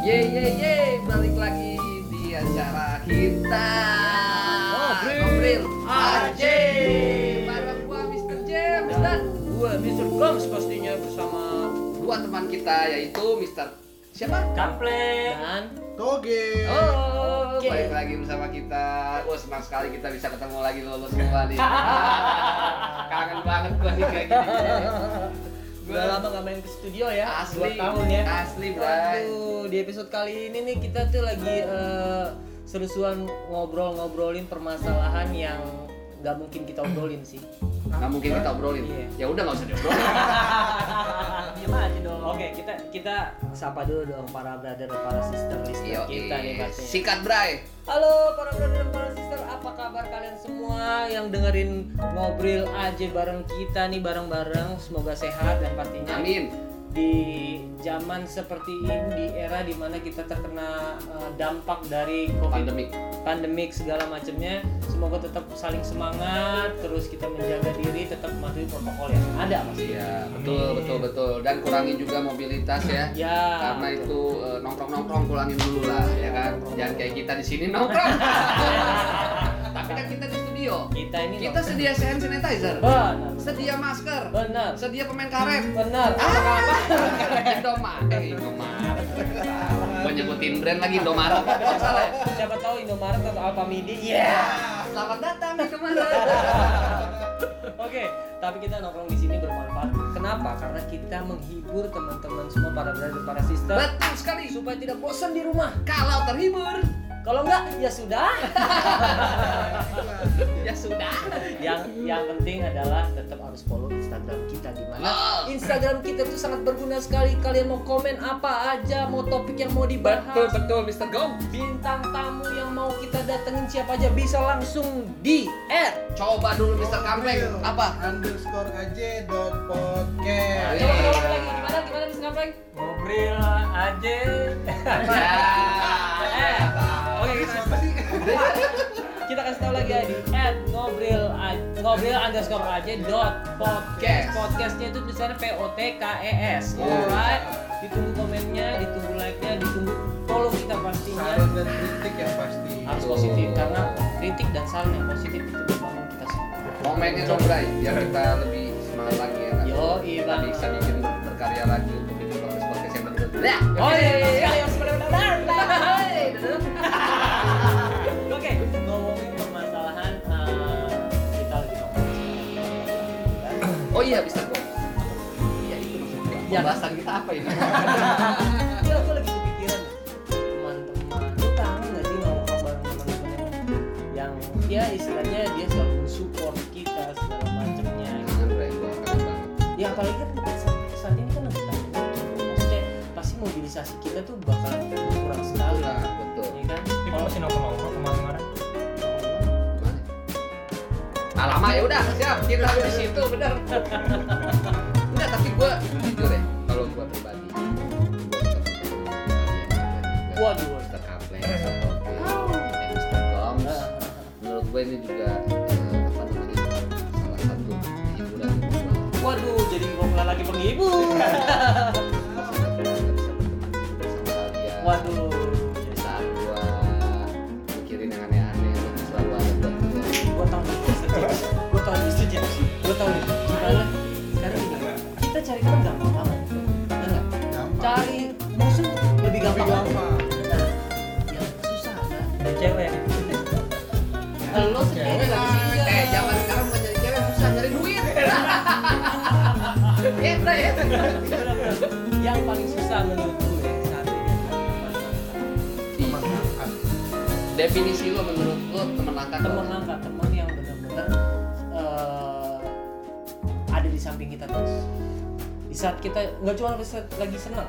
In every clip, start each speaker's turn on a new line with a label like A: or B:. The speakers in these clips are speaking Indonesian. A: Ye ye ye, balik lagi di acara kita.
B: Ngobrol.
A: Ngobrol AJ. Bareng gua Mr. James
B: Ya.
A: dan
B: Gue Mr. Blums pastinya bersama
A: dua teman kita yaitu Mr. Siapa?
B: Kaple dan
C: Toge.
A: Oh,
B: Oke.
A: balik lagi bersama kita. Wah, senang sekali kita bisa ketemu lagi lulus kembali. Kangen banget gua nih kayak gini.
B: Udah lama gak main ke studio ya
A: Asli,
B: dua tahun ya
A: asli, Bray.
B: Waduh, di episode kali ini nih kita tuh lagi eh, seru-seruan ngobrol-ngobrolin permasalahan yang gak mungkin kita obrolin sih
A: Nah, mungkin kita obrolin. Ya
B: Iya.
A: udah nggak usah diobrolin.
B: Diam aja dong Oke, kita kita sapa dulu dong para brother, para sister
A: Yo,
B: listener kita nih pastinya
A: sikat Bray.
B: Halo para brother dan para sister, apa kabar kalian semua yang dengerin ngobrol aja bareng kita nih bareng-bareng. Semoga sehat dan pastinya
A: Amin.
B: di zaman seperti ini di era dimana kita terkena eh, dampak dari covid
A: Pandemik.
B: pandemik segala macamnya semoga tetap saling semangat terus kita menjaga diri tetap mematuhi protokol yang ada mas
A: Iya, betul betul betul. Dan kurangin juga mobilitas ya.
B: ya
A: Karena itu eh, nongkrong-nongkrong kurangin dulu lah ya kan. Jangan kayak kita di sini nongkrong. Tapi kan kita di studio.
B: kita ini
A: Kita
B: loh-
A: sedia hand sanitizer,
B: benar
A: sedia masker,
B: benar
A: sedia pemain karet.
B: benar
A: Apa? Indomaret. Eh, Indomaret. Gua nyebutin brand lagi Indomaret. Oh, salah. ya?
B: siapa tahu Indomaret atau Alfamidi ya
A: Selamat datang di Indomaret.
B: Oke, tapi kita nongkrong di sini bermanfaat. Kenapa? Karena kita menghibur teman-teman semua para brother para sister
A: Betul sekali.
B: supaya tidak bosan di rumah.
A: Kalau terhibur,
B: Kalau enggak ya sudah.
A: ya sudah.
B: Yang yang penting adalah tetap harus follow Instagram kita di mana
A: Oh.
B: Instagram kita itu sangat berguna sekali. Kalian mau komen apa aja, mau topik yang mau
A: Betul
B: dibahas,
A: betul Mr. Gong.
B: bintang tamu yang mau kita datengin siapa aja bisa langsung di add.
A: Coba dulu Mr. Kampleng
C: Mobil.
A: apa?
C: Underscore aj dot podcast.
D: Iya.
A: Ayo.
B: Coba kita ulang lagi gimana gimana Miss Ngapreng?
E: Ngobrol aja.
B: Eh,
A: Ya.
B: Oke, kita
C: Siapa sih?
B: iya, kita kasih tahu lagi ya di at ngobrol a- ngobrol underscore aja dot podcast
A: Yes.
B: podcastnya itu tulisannya p o t k e s
A: Yes.
B: alright ditunggu komennya ditunggu like nya ditunggu follow kita pastinya
C: Saran dan kritik yang pasti.
B: harus
A: Betul.
B: positif karena kritik dan saran yang positif itu membangun kita semua
A: Komennya dong Bray, biar kita lebih semangat lagi ya. kan?
B: yo
A: Kita
B: ilang
A: bisa bikin berkarya lagi untuk bikin podcast podcast yang Ya. berbeda.
B: oh iya iya iya yang sebenarnya Oke, ngomongin permasalahan eh, kita lagi ngomongin sekarang.
A: Oh iya Mr. Gong. Iya itu maksud gua.
B: Ya.
A: Pembahasan kita apa ini?
B: Iya, aku lagi kepikiran teman-teman. Lu kangen nggak sih nongkrong bareng teman-teman yang ya istilahnya dia selalu support kita segala macamnya.
A: Jangan, Bray, gua kangen banget.
B: Ya apalagi kan saat- saat ini kan lagi pandemi. Maksudnya pasti mobilisasi kita tuh bakal kurang sekali.
A: Nah, betul.
B: Ya kan?
E: Tapi
B: Kalau-
E: masih nongkrong-nongkrong kemarin-kemarin.
A: Gimana? Tak lama ya udah siap kita di situ bener. Enggak tapi gua jujur ya kalau gua pribadi. gua tetap ketemu sama dia.
B: Waduh.
A: Mr. Kapleng, Mr. Topi, eh, Mr. Goms. Menurut gue ini juga eh, apa namanya salah satu hiburan gue.
B: Waduh, jadi ngomongin lagi penghibur.
A: Sama kalian.
B: Waduh.
A: Di saat gue mikirin yang aneh-aneh, lu selalu ada buat gue.
B: Gua tahu nih, gue tahu nih, gue tahu nih. Gimana? Sekarang gini, kita cari teman gampang banget. Bener nggak?
C: Gampang.
B: cari musuh lebih
C: Tapi
B: gampang lagi.
C: gampang.
B: Nah, yang susah kan
E: Dan cewek.
B: lo sendiri lagi single.
A: Eh, zaman sekarang bukan nyari cewek susah nyari duit. Iya, Bray, ya.
B: yang paling susah menurut gue saat ini
A: Iya. Definisi lo menurut lo teman langka apa?
B: teman langka teman yang benar-benar eh, ada di samping kita terus di saat kita nggak cuma pas lagi senang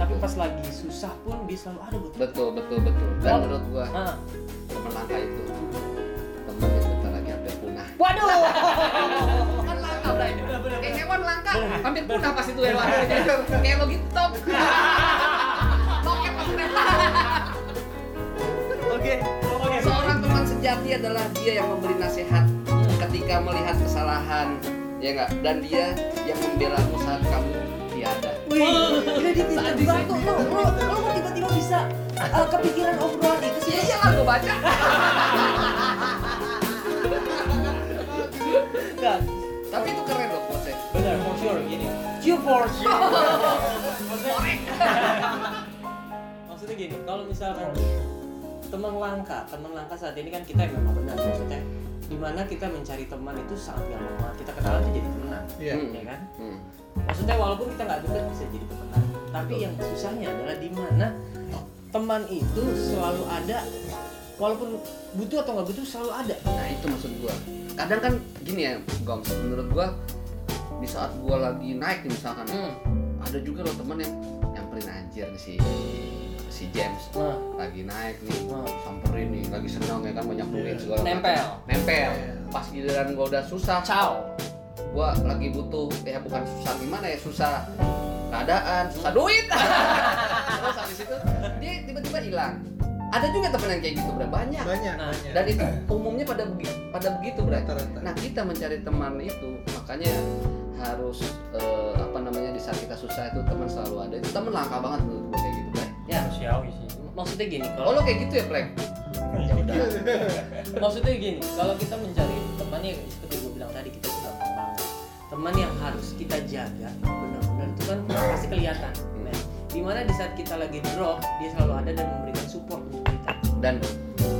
B: tapi pas lagi susah pun dia selalu ada buat kita.
A: Betul, betul, betul. Dan
B: Wah.
A: menurut gua
B: Ah.
A: teman langka itu teman yang bentar lagi hampir punah.
B: waduh
A: Kan langka, Bray. Kayak hewan langka, hampir punah pas itu hewan. Kayak lo gitu, Tom. Loket pas kereta.
B: oke oke
A: Seorang teman sejati adalah dia yang memberi nasihat ketika melihat kesalahan, ya enggak? Dan dia yang membela mu saat kamu tiada.
B: Wih, kredit itu
A: Sadis,
B: bagus. Lo, lo, lo kok tiba-tiba bisa eh, kepikiran obrolan itu sih?
A: Iya iyalah gue baca.
B: Enggak.
A: Tapi itu keren loh konsep.
B: Benar, for sure gini. Cheer for sure. Maksudnya, maksudnya gini, kalau misalkan teman langka, teman langka saat ini kan kita memang benar maksudnya dimana kita mencari teman itu sangat gampang banget kita kenalan tuh jadi temenan
C: Iya.
A: Hmm.
B: ya kan
A: Hmm.
B: maksudnya walaupun kita nggak dekat bisa jadi teman tapi yang susahnya adalah di mana teman itu selalu ada walaupun butuh atau nggak butuh selalu ada
A: Nah itu maksud gua. Kadang kan gini ya, Goms. Menurut gua di saat gua lagi naik nih misalkan, ya, ada juga loh temen yang nyamperin anjir nih si si James
B: Nah.
A: lagi naik nih
B: Nah.
A: samperin nih lagi seneng ya kan banyak
C: Iya.
A: duit segala macam.
B: Nempel.
A: nempel
C: Iya.
A: pas giliran gua udah susah
B: ciao
A: gua lagi butuh ya bukan susah gimana ya susah keadaan susah duit terus habis itu dia tiba-tiba hilang ada juga temen yang kayak gitu bro banyak
C: Banyak.
B: Nah,
C: banyak.
A: dan itu umumnya pada begi- pada begitu bro
C: Rata-rata.
A: nah kita mencari teman itu makanya harus eh, apa namanya di saat kita susah itu teman selalu ada itu teman langka banget menurut gua kayak gitu bro
B: ya
E: Manusiawi sih.
B: maksudnya gini
A: oh
B: kalau
A: lo kayak gitu ya Plek? ya udah
B: maksudnya gini kalau kita mencari teman yang seperti gue bilang tadi kita sudah banget teman yang harus kita jaga benar-benar itu kan pasti kelihatan men dimana di saat kita lagi drop dia selalu ada dan memberikan support untuk kita
A: dan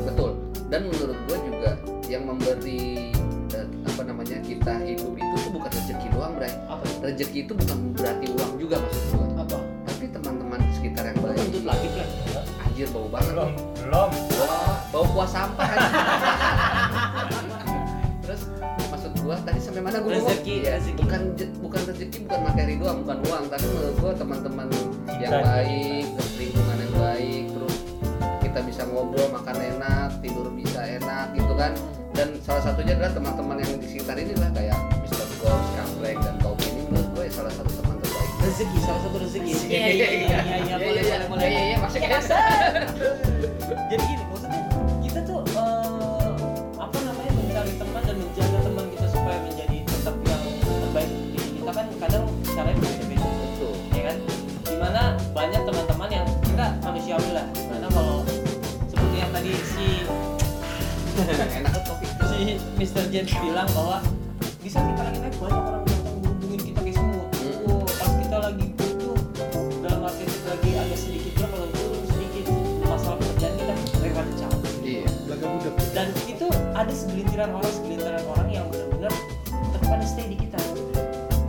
A: betul dan menurut gue juga yang memberi eh, apa namanya kita hidup itu tuh bukan rezeki doang Bray
B: apa itu?
A: rezeki itu bukan berarti uang juga maksud gue
B: apa
A: tapi teman-teman sekitar yang
B: Lu
A: baik
B: kentut lagi Plan.
A: anjir bau banget
E: Belum, belum.
A: Wah, bau kuah sampah anjir. terus maksud gue tadi sampai mana gue
B: Rezeki, rezeki.
A: bukan je- bukan rezeki bukan materi doang bukan uang tapi menurut gue teman-teman yang
E: Cinta,
A: baik terus lingkungan yang baik terus kita bisa ngobrol makan enak tidur bisa enak gitu kan dan salah satunya adalah teman-teman yang di sekitar ini lah kayak Mr. Gold, Kamplek, dan Tommy ini menurut gue salah satu teman terbaik
B: rezeki salah satu rezeki
A: Iya, iya, iya, iya, iya, iya,
B: boleh
A: iya,
B: boleh boleh
A: iya, iya, masuk
B: Ya,
A: ya.
B: kasar. jadi gini maksudnya kita tuh eh, apa namanya mencari teman dan menjaga teman kita supaya menjadi tetap yang terbaik untuk diri kita kan kadang caranya beda-beda
A: Betul.
B: ya kan dimana banyak teman-teman yang kita manusiawi lah karena kalau seperti yang tadi si
A: enak kan topik
B: si Mr. James bilang bahwa bisa kita lagi naik banyak orang yang datang menghubungin kita kayak semua
A: Hmm.
B: oh, pas kita lagi butuh dalam arti lagi agak sedikit lah kalau turun sedikit masalah pekerjaan kita lewat jauh
A: iya
C: Laga budak.
B: dan itu ada segelintiran orang segelintiran orang yang benar-benar tetap pada stay di kita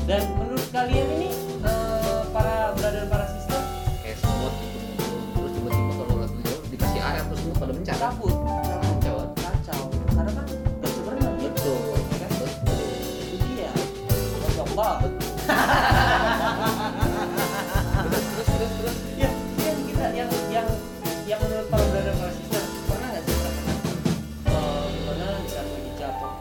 B: dan menurut kalian ini eh, para brother para sister
A: kayak semut terus tiba-tiba kalau lagi jauh dikasih air terus semut pada mencar
B: cabut
A: kacau
B: kacau karena kan gak sebenarnya gitu
A: betul ya kan? betul
B: itu dia Masya Allah
A: terus terus terus terus
B: ya yang kita yang yang yang menurut para brother para sister pernah nggak sih merasakan eh, gimana di saat lagi jatuh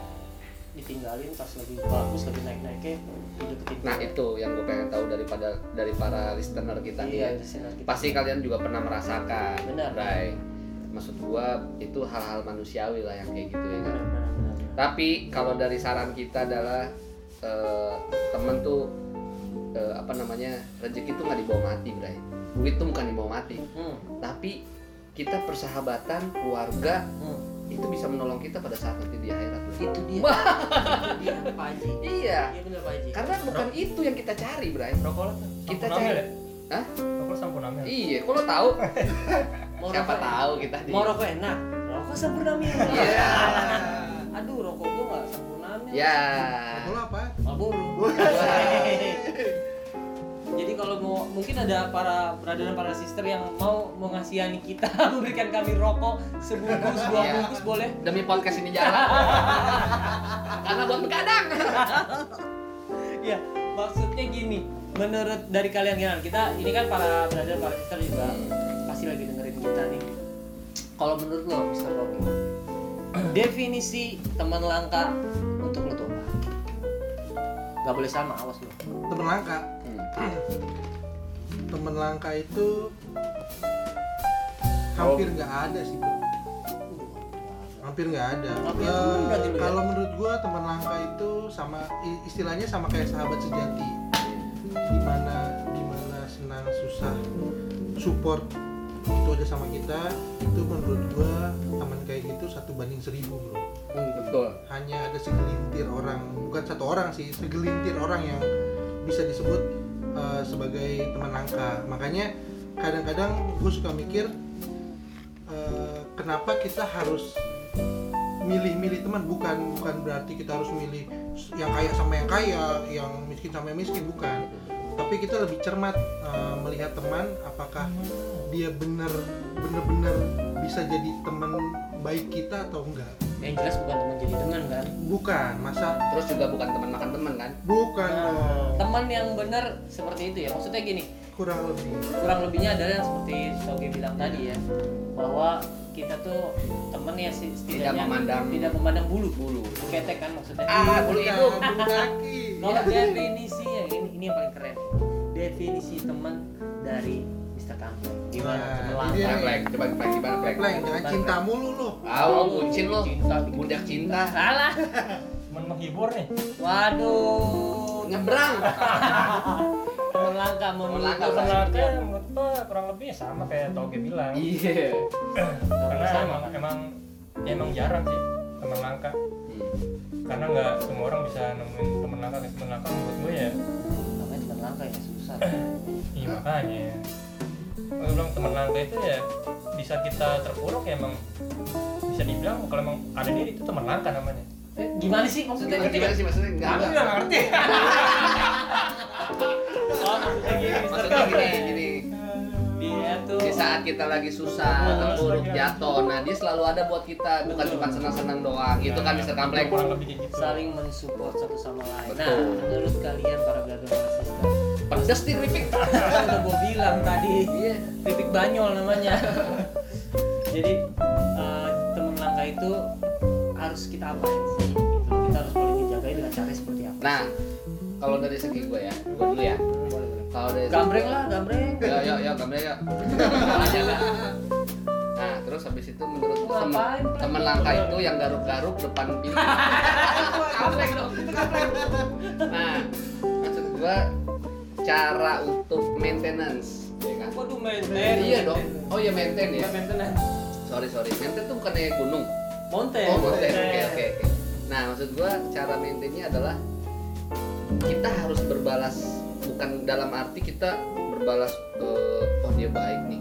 B: ditinggalin pas lagi bagus lagi naik naiknya dideketin
A: nah itu yang gue pengen tahu daripada dari para listener kita nih ya.
B: iya di sinar kita
A: pasti kalian juga pernah merasakan
B: Benar.
A: Bray. maksud gua itu hal-hal manusiawi lah yang kayak gitu ya kan
B: Benar, benar, benar.
A: tapi kalau dari saran kita adalah eh, temen tuh eh, apa namanya rezeki tuh nggak dibawa mati Bray duit tuh bukan dibawa mati
B: hmm,
A: tapi kita persahabatan keluarga
B: hmm.
A: itu bisa menolong kita pada saat nanti di akhirat
B: itu dia
A: Wah.
B: itu dia Pak Haji
A: iya
B: iya benar Pak Haji
A: karena bukan itu yang kita cari Bray
E: Rokok lo
A: Kita
E: sampun
A: cari-
E: ambil ya?
A: Hah?
E: Rokok lo sampun ambil.
A: iya kok lo tahu
B: Mau
A: siapa
B: rokok
A: tahu kita
B: enak.
A: di
B: ya? mau rokok enak rokok sempurna mil
A: Iya.
B: aduh rokok gua nggak sempurna mil
A: ya
C: Kalau apa?
B: Marlboro. Jadi kalau mau mungkin ada para brother dan para sister yang mau mengasihani kita, memberikan kami rokok sebungkus dua
A: Iya.
B: bungkus boleh.
A: demi podcast ini jalan karena buat begadang
B: Ya, maksudnya gini. Menurut dari kalian gimana? Kita ini kan para brother para sister juga pasti lagi dengerin kita nih. Kalau menurut lo, Mr. Robi, definisi teman langka untuk lo tuh apa? Gak boleh sama, awas lo.
C: Temen langka.
B: Hmm.
C: Iya. Temen langka itu
B: Oh.
C: hampir nggak ada sih bro. hampir nggak ada.
B: Tapi
C: Eh,
B: yang temen berarti lu ya?
C: kalau menurut gua teman langka itu sama i- istilahnya sama kayak sahabat sejati. Dimana dimana
D: yang susah support itu aja sama kita itu menurut gua teman kayak gitu satu banding seribu bro
A: betul
D: hanya ada segelintir orang bukan satu orang sih segelintir orang yang bisa disebut uh, sebagai teman langka makanya kadang-kadang gue suka mikir uh, kenapa kita harus milih-milih teman bukan bukan berarti kita harus milih yang kaya sama yang kaya yang miskin sama yang miskin bukan tapi kita lebih cermat uh, melihat teman apakah dia bener bener-bener bisa jadi teman baik kita atau enggak
B: yang jelas bukan teman jadi teman kan
D: bukan masa
A: terus juga bukan teman makan teman kan
D: Bukan dong.
B: teman yang benar seperti itu ya maksudnya gini
D: kurang lebih.
B: kurang lebihnya adalah yang seperti Sogi bilang tadi ya bahwa kita tuh temen ya sih
A: tidak
B: setidaknya
A: memandang
B: tidak memandang bulu bulu ketek kan maksudnya
A: Ah, bulu
D: Bukan,
A: hidung.
D: bulu kaki.
B: kalau definisi ya ini, ini yang paling keren definisi teman dari Mr. Kampo gimana
D: Nah,
B: teman
D: ini
B: langka
D: dia.
A: Plek, coba plek gimana plek?
D: Pleng, jangan cinta mulu lo.
A: Ah, lo bucin lo,
B: Cinta.
A: budak cinta.
B: salah
E: Temen menghibur nih.
B: waduh
A: Nyebrang.
B: teman langka menurut
A: Teman langka,
B: gua
A: teman
E: Sebenarnya
B: sebenarnya.
E: menurut gua kurang lebih sama kayak Toge bilang.
A: Iya.
E: Karena
B: Sama.
E: emang emang ya emang jarang sih teman langka.
A: Iya.
E: Karena nggak semua orang bisa nemuin teman langka kayak teman langka menurut gua ya.
B: namanya teman langka ya susah
E: Iya makanya. Kalau bilang teman langka itu ya bisa kita terpuruk ya emang bisa dibilang kalau emang ada diri itu teman langka namanya.
B: Eh, gimana sih maksudnya
A: Gimana
B: ngerti
A: gimana
B: nggak?
A: sih maksudnya? Enggak
E: Aku
A: enggak.
E: nggak ngerti.
B: Oh, maksudnya
E: gitu.
B: gini Mr.
A: Maksudnya
B: Kampo
A: gini, gini.
E: Iya.
B: dia tuh
A: Di saat kita lagi susah, terpuruk, jatuh, nah dia selalu ada buat kita, bukan
B: Betul.
A: cuma senang-senang doang. Gitu kan Mr. Kamplek?
E: Kurang lebih kayak gitu.
B: saling mensupport satu sama lain. Nah,
A: Betul.
B: menurut kalian para brother dan sister,
A: Pedes di keripik.
B: kan udah gue bilang tadi,
A: Iya.
B: titik banyol namanya. Jadi eh, teman langka itu harus kita apain sih? Gitu. Kita harus paling dijagain dengan cara seperti apa?
A: Nah, kalau dari segi gue ya, gue dulu ya. Kalau dari
B: Gambreng lah, gambreng.
A: Yo yo yo, gambreng yo. Nah, terus habis itu menurut gue temen,
B: Ngapain, Plek?
A: temen langka itu yang garuk-garuk depan pintu. Kaplek dong, itu kaplek. Nah, maksud gue cara untuk maintenance, ya kan?
B: Waduh main
A: Iya dong. Oh iya maintain ya.
B: Maintenance.
A: Sorry sorry, maintain tuh bukannya gunung.
B: Mountain.
A: Oh maintain, oke oke oke. Nah maksud gua cara maintainnya adalah kita harus berbalas bukan dalam arti kita berbalas eh, oh dia baik nih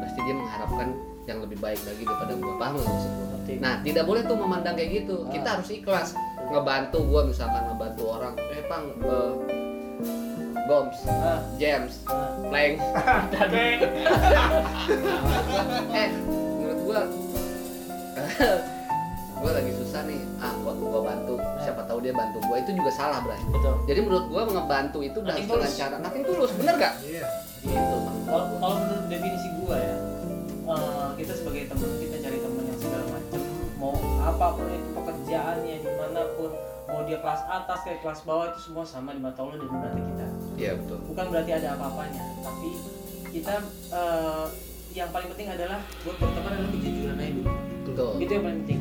A: pasti dia mengharapkan yang lebih baik lagi daripada gua paham nggak maksud gua?
B: Ngerti.
A: Nah tidak boleh tuh memandang kayak gitu. Kita harus ikhlas ngebantu gua misalkan ngebantu orang. Eh pang eh, bombs,
B: Ah,
A: James,
B: ah.
A: Plank,
E: Oke.
A: eh menurut gua gua lagi susah nih ah gua, gua bantu siapa tahu dia bantu gua itu juga salah bray
B: Betul.
A: jadi menurut gua ngebantu itu udah
B: Nothing
A: dengan
B: tulus.
A: cara nothing tulus bener gak
D: Iya.
A: gitu maksud
B: kalau
A: gua.
B: kalau menurut definisi gua ya eh, kita sebagai teman kita cari teman yang segala macam mau apapun itu pekerjaannya dimanapun mau dia kelas atas kayak kelas bawah itu semua sama di mata Allah dan di mata kita
A: iya betul
B: bukan berarti ada apa-apanya tapi kita eh, yang paling penting adalah buat berteman adalah kejujuran aja dulu
A: betul
B: itu yang paling penting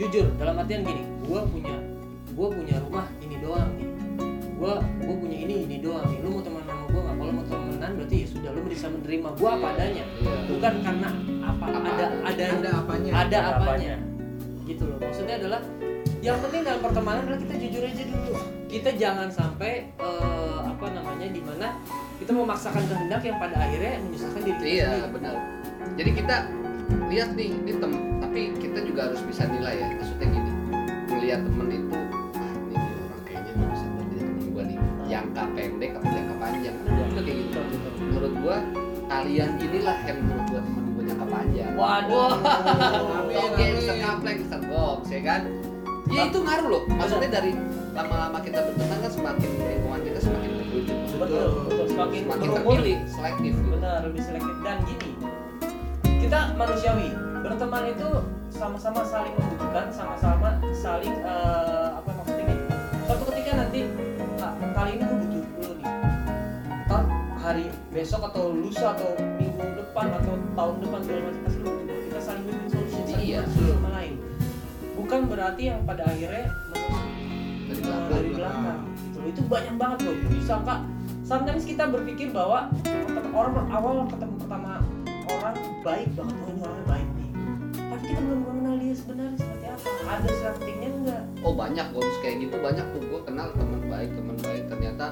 B: jujur dalam artian gini gua punya gua punya rumah ini doang nih gua gua punya ini ini doang nih lu mau teman sama gua nggak kalau mau temenan berarti ya sudah lu bisa menerima gua apa adanya
A: Iya.
B: bukan karena apa,
A: Apa
B: ada ada
D: Ada apanya?
B: ada
E: Ada
B: apanya gitu loh maksudnya adalah yang penting dalam pertemanan adalah kita jujur aja dulu kita jangan sampai eh, apa namanya dimana kita memaksakan kehendak yang pada akhirnya menyusahkan diri kita
A: iya
B: sendiri.
A: benar jadi kita lihat nih ini tem tapi kita juga harus bisa nilai ya maksudnya gini melihat temen itu ah ini dia orang kayaknya nggak bisa buat jadi temen gua nih jangka pendek apa jangka panjang Ada juga kayak gitu menurut gua kalian inilah yang menurut gua temen gua jangka panjang
B: waduh
A: Oke, Mr. Kaplek, Mr. Box, ya kan?
B: Iya.
A: Ya itu ngaruh loh. Maksudnya dari lama-lama kita berteman kan semakin lingkungan kita semakin tertuju.
B: betul, betul. semakin
A: Semakin
B: berumur
A: terpilih, selektif gitu.
B: benar lebih selektif dan gini kita manusiawi berteman itu sama-sama saling membutuhkan sama-sama saling eh, apa maksudnya gini suatu ketika nanti "Ah, kali ini gue butuh lu nih ntar hari besok atau lusa atau minggu depan atau tahun depan segala macam pasti lu butuh gua. kita saling bikin solusi saling
A: Iya.
B: bantu satu sama lain bukan berarti yang pada akhirnya
A: Dari
B: Nah,
A: belakang.
B: dari belakang gitu loh. itu banyak banget loh bisa kak sometimes kita berpikir bahwa ketemu- orang awal ketemu pertama orang baik banget oh ini orangnya baik nih tapi kita belum mengenal dia sebenarnya seperti apa ada somethingnya enggak
A: oh banyak gue kayak gitu banyak tuh gue kenal teman baik teman baik ternyata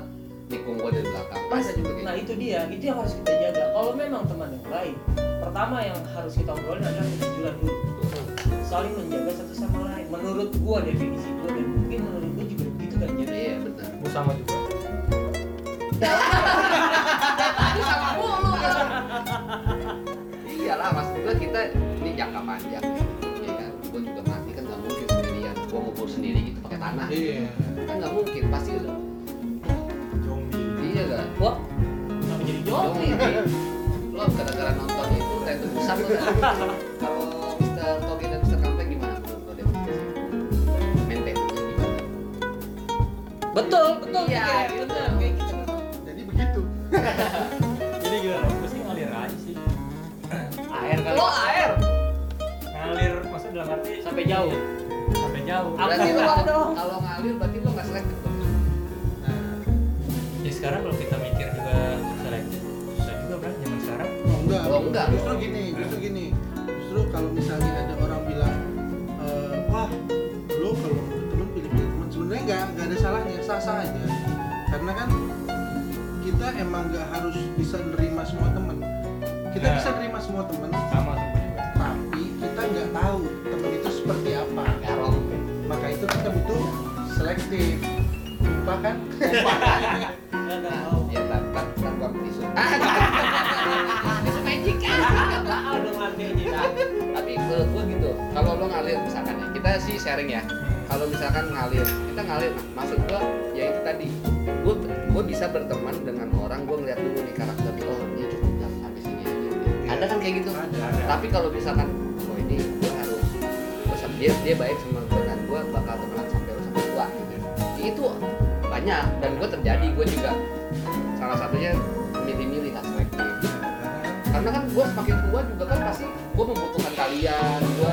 A: nikung gue dari belakang ada juga kayak
B: nah
A: gitu.
B: itu dia itu yang harus kita jaga kalau memang teman yang baik pertama yang harus kita obrolin adalah kejujuran dulu saling menjaga satu sama lain menurut gua definisi gua dan mungkin menurut gua juga begitu kan jadi
A: iya benar
E: Gua sama juga
A: Itu sama mulu kan iyalah maksud gue kita ini jangka panjang ya kan gue juga mati kan nggak mungkin sendirian gue ngubur sendiri gitu pakai tanah
D: iya
A: kan nggak mungkin pasti udah
C: zombie
A: iya kan
B: gua kenapa jadi
A: Dong,
B: jomblo
A: ini. lo gara-gara nonton itu kayak tebusan lo kan? kalau Mr. Toge dan Mr. Kampeng gimana menurut lo deh maintenance-nya gimana
B: betul betul
A: Iya,
B: kayak
A: gitu.
B: betul, kayak gitu
D: jadi begitu
C: jadi gimana gue sih ngalir aja sih
B: air kali
A: lo
E: Oh,
A: AR
C: ngalir maksudnya dalam arti
B: sampai jauh
C: sampai jauh
B: Apa
A: berarti lo
B: enggak dong?
A: kalau ngalir berarti lo nggak selektif dong.
D: nah
E: ya sekarang kalau kita mikir juga selektif susah juga kan zaman sekarang
D: Oh, enggak.
A: Oh, enggak.
D: Justru gini, justru gini. Justru kalau misalnya ada orang bilang, eh, wah, lo kalau mau temen pilih-pilih temen sebenarnya nggak nggak ada salahnya, sah-sah aja. Karena kan kita emang nggak harus bisa nerima semua temen. Kita
A: Iya.
E: Ya.
D: bisa nerima semua temen,
E: sama tuh gua juga
D: tapi kita nggak tahu temen itu seperti apa.
A: garong
D: Maka itu kita butuh selektif. Lupa kan? Lupa.
B: nggak tahu
A: ya tar tar tar gua ambil tisu Ah, tisu magic ah.
B: tahu dong artinya
A: tapi menurut gua gitu kalau lo ngalir misalkan ya kita sih sharing ya kalau misalkan ngalir kita ngalir nah, maksud gua ya itu tadi gua gua bisa berteman dengan orang gua ngeliat dulu nih karakternya oh ini cukup lah habis ini aja ada kan kayak gitu
D: Ada,
C: ada.
A: tapi kalau misalkan oh ini gua harus gua sama dia dia baik sama gua dan gua bakal temenan sampai lo sampai tua gitu. itu banyak dan gua terjadi gua juga salah satunya milih-milih kan selektif karena kan gue semakin tua juga kan pasti gue membutuhkan kalian gue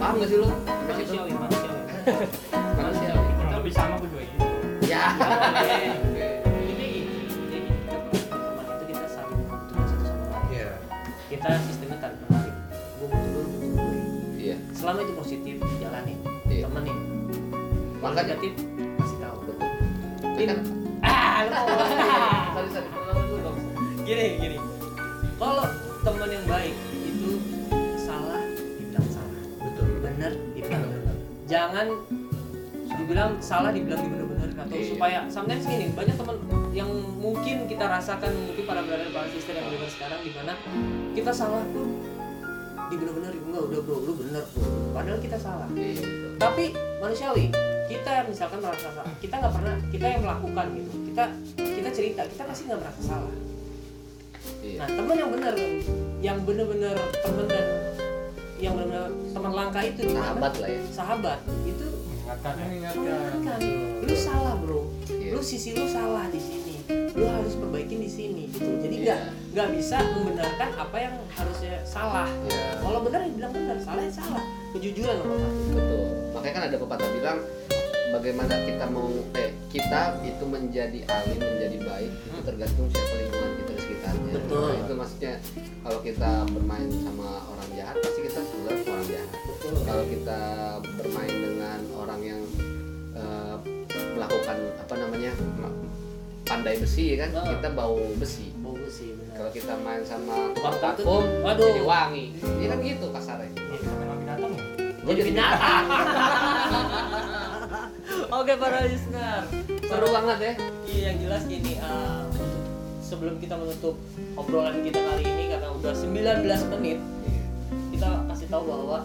A: paham gak sih lo Sampai situ?
B: manusiawi manusiawi
A: manusiawi
E: kurang lebih sama gua juga gitu
A: ya
B: ya. Oke. Ini jadi kita teman itu kita saling membutuhkan satu sama lain.
D: Iya.
B: Kita sistemnya tarik menarik. Gue butuh lu, lu butuh gue.
A: iya
B: Selama itu positif, jalanin,
A: Iya.
B: temenin. Kalau
A: Makanya-
B: negatif, kasih tahu.
A: betul
B: Ini.
A: Kan-
B: Ah, lu mau ngomong.
A: Ah, sorry sorry Lo dulu dong.
B: gini gini. Kalau teman yang baik itu salah dibilang salah,
D: Betul.
B: benar dibilang benar. Jangan dibilang salah dibilang benar-benar atau
A: Iya.
B: supaya sometimes gini banyak teman yang mungkin kita rasakan mungkin para brother para sister yang dengar sekarang di mana kita salah pun dibener-benerin enggak udah bro lu bener bro padahal kita salah
A: Iya, betul.
B: tapi manusiawi kita misalkan merasa salah kita nggak pernah kita yang melakukan gitu kita kita cerita kita pasti nggak merasa salah
A: Iya.
B: Nah, teman yang benar yang benar-benar teman dan yang benar-benar teman langka itu di mana?
A: sahabat lah ya
B: Sahabat. Itu
E: mengingatkan ya
B: mengingatkan. Lu salah, Bro.
A: Iya.
B: Lu sisi lu salah di sini. Lu harus perbaikin di sini gitu. Jadi nggak
A: Iya.
B: nggak bisa membenarkan apa yang harusnya salah.
A: Iya,
B: Kalau benar ya bilang benar, salah ya salah. Kejujuran apa
A: betul makanya kan ada pepatah bilang bagaimana kita mau eh kita itu menjadi alim menjadi baik itu tergantung siapa lingkungan kita di sekitarnya
B: Hmm. Betul.
A: Nah, itu maksudnya kalau kita bermain sama orang jahat pasti kita sebelah sama orang jahat
B: Betul.
A: kalau kita bermain dengan orang yang eh, melakukan apa namanya ma- pandai besi ya kan
B: Ah.
A: kita bau besi
B: Bagus sih
A: kalau
B: benar.
A: kita main sama tukang
B: Tukang
A: vakum
B: Waduh.
A: jadi wangi ini kan gitu kasarnya
E: kita memang binatang ya
A: Lo jadi binatang
B: Oke, para listener.
A: seru banget ya
B: Iya yang jelas gini eh, sebelum kita menutup obrolan kita kali ini karena udah 19 menit
A: Iya,
B: kita kasih tahu bahwa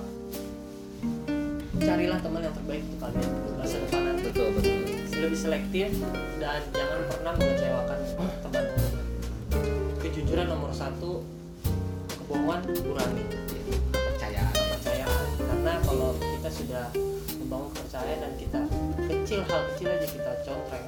B: carilah teman yang terbaik untuk kalian untuk masa depan nanti.
A: betul betul
B: lebih selektif dan jangan pernah mengecewakan teman kejujuran nomor satu kebohongan kurangi
A: percayaan
B: kepercayaan karena kalau kita sudah membangun kepercayaan dan kita kecil hal kecil aja kita contreng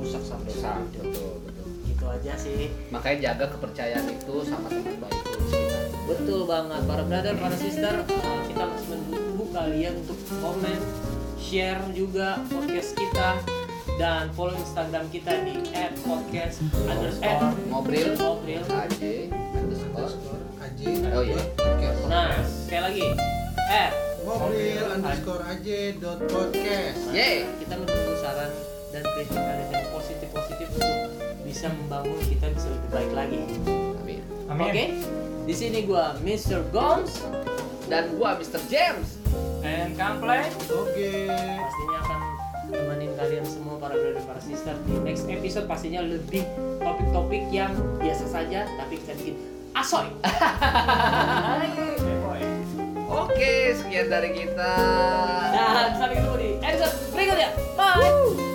B: rusak sampai
A: dosa betul betul
B: gitu aja sih
A: makanya jaga kepercayaan itu sama teman baik lo di sekitar.
B: Betul banget, para brother, para sister, eh, kita masih menunggu kalian untuk komen, share juga podcast kita dan follow Instagram kita di @podcast underscore
A: ngobrol
B: Ngobrol.
A: aja underscore
D: underscore AJ
A: Oh, iya.
D: podcast.
B: Nah, sekali lagi eh
D: Ngobrol underscore AJ dot podcast.
A: Yeay.
B: kita menunggu saran dan kritik kalian yang positif positif untuk bisa membangun kita bisa lebih baik lagi.
A: amin
E: Amin.
B: Oke, di sini gua Mr. Gomes
A: dan gua Mr. James
E: And Kampleng.
D: Oke.
B: pastinya akan temenin kalian semua para brother para sister di next episode pastinya lebih topik-topik yang biasa saja tapi kita bikin asoy.
A: oke sekian dari kita
B: Dan sampai ketemu di episode berikutnya. Bye.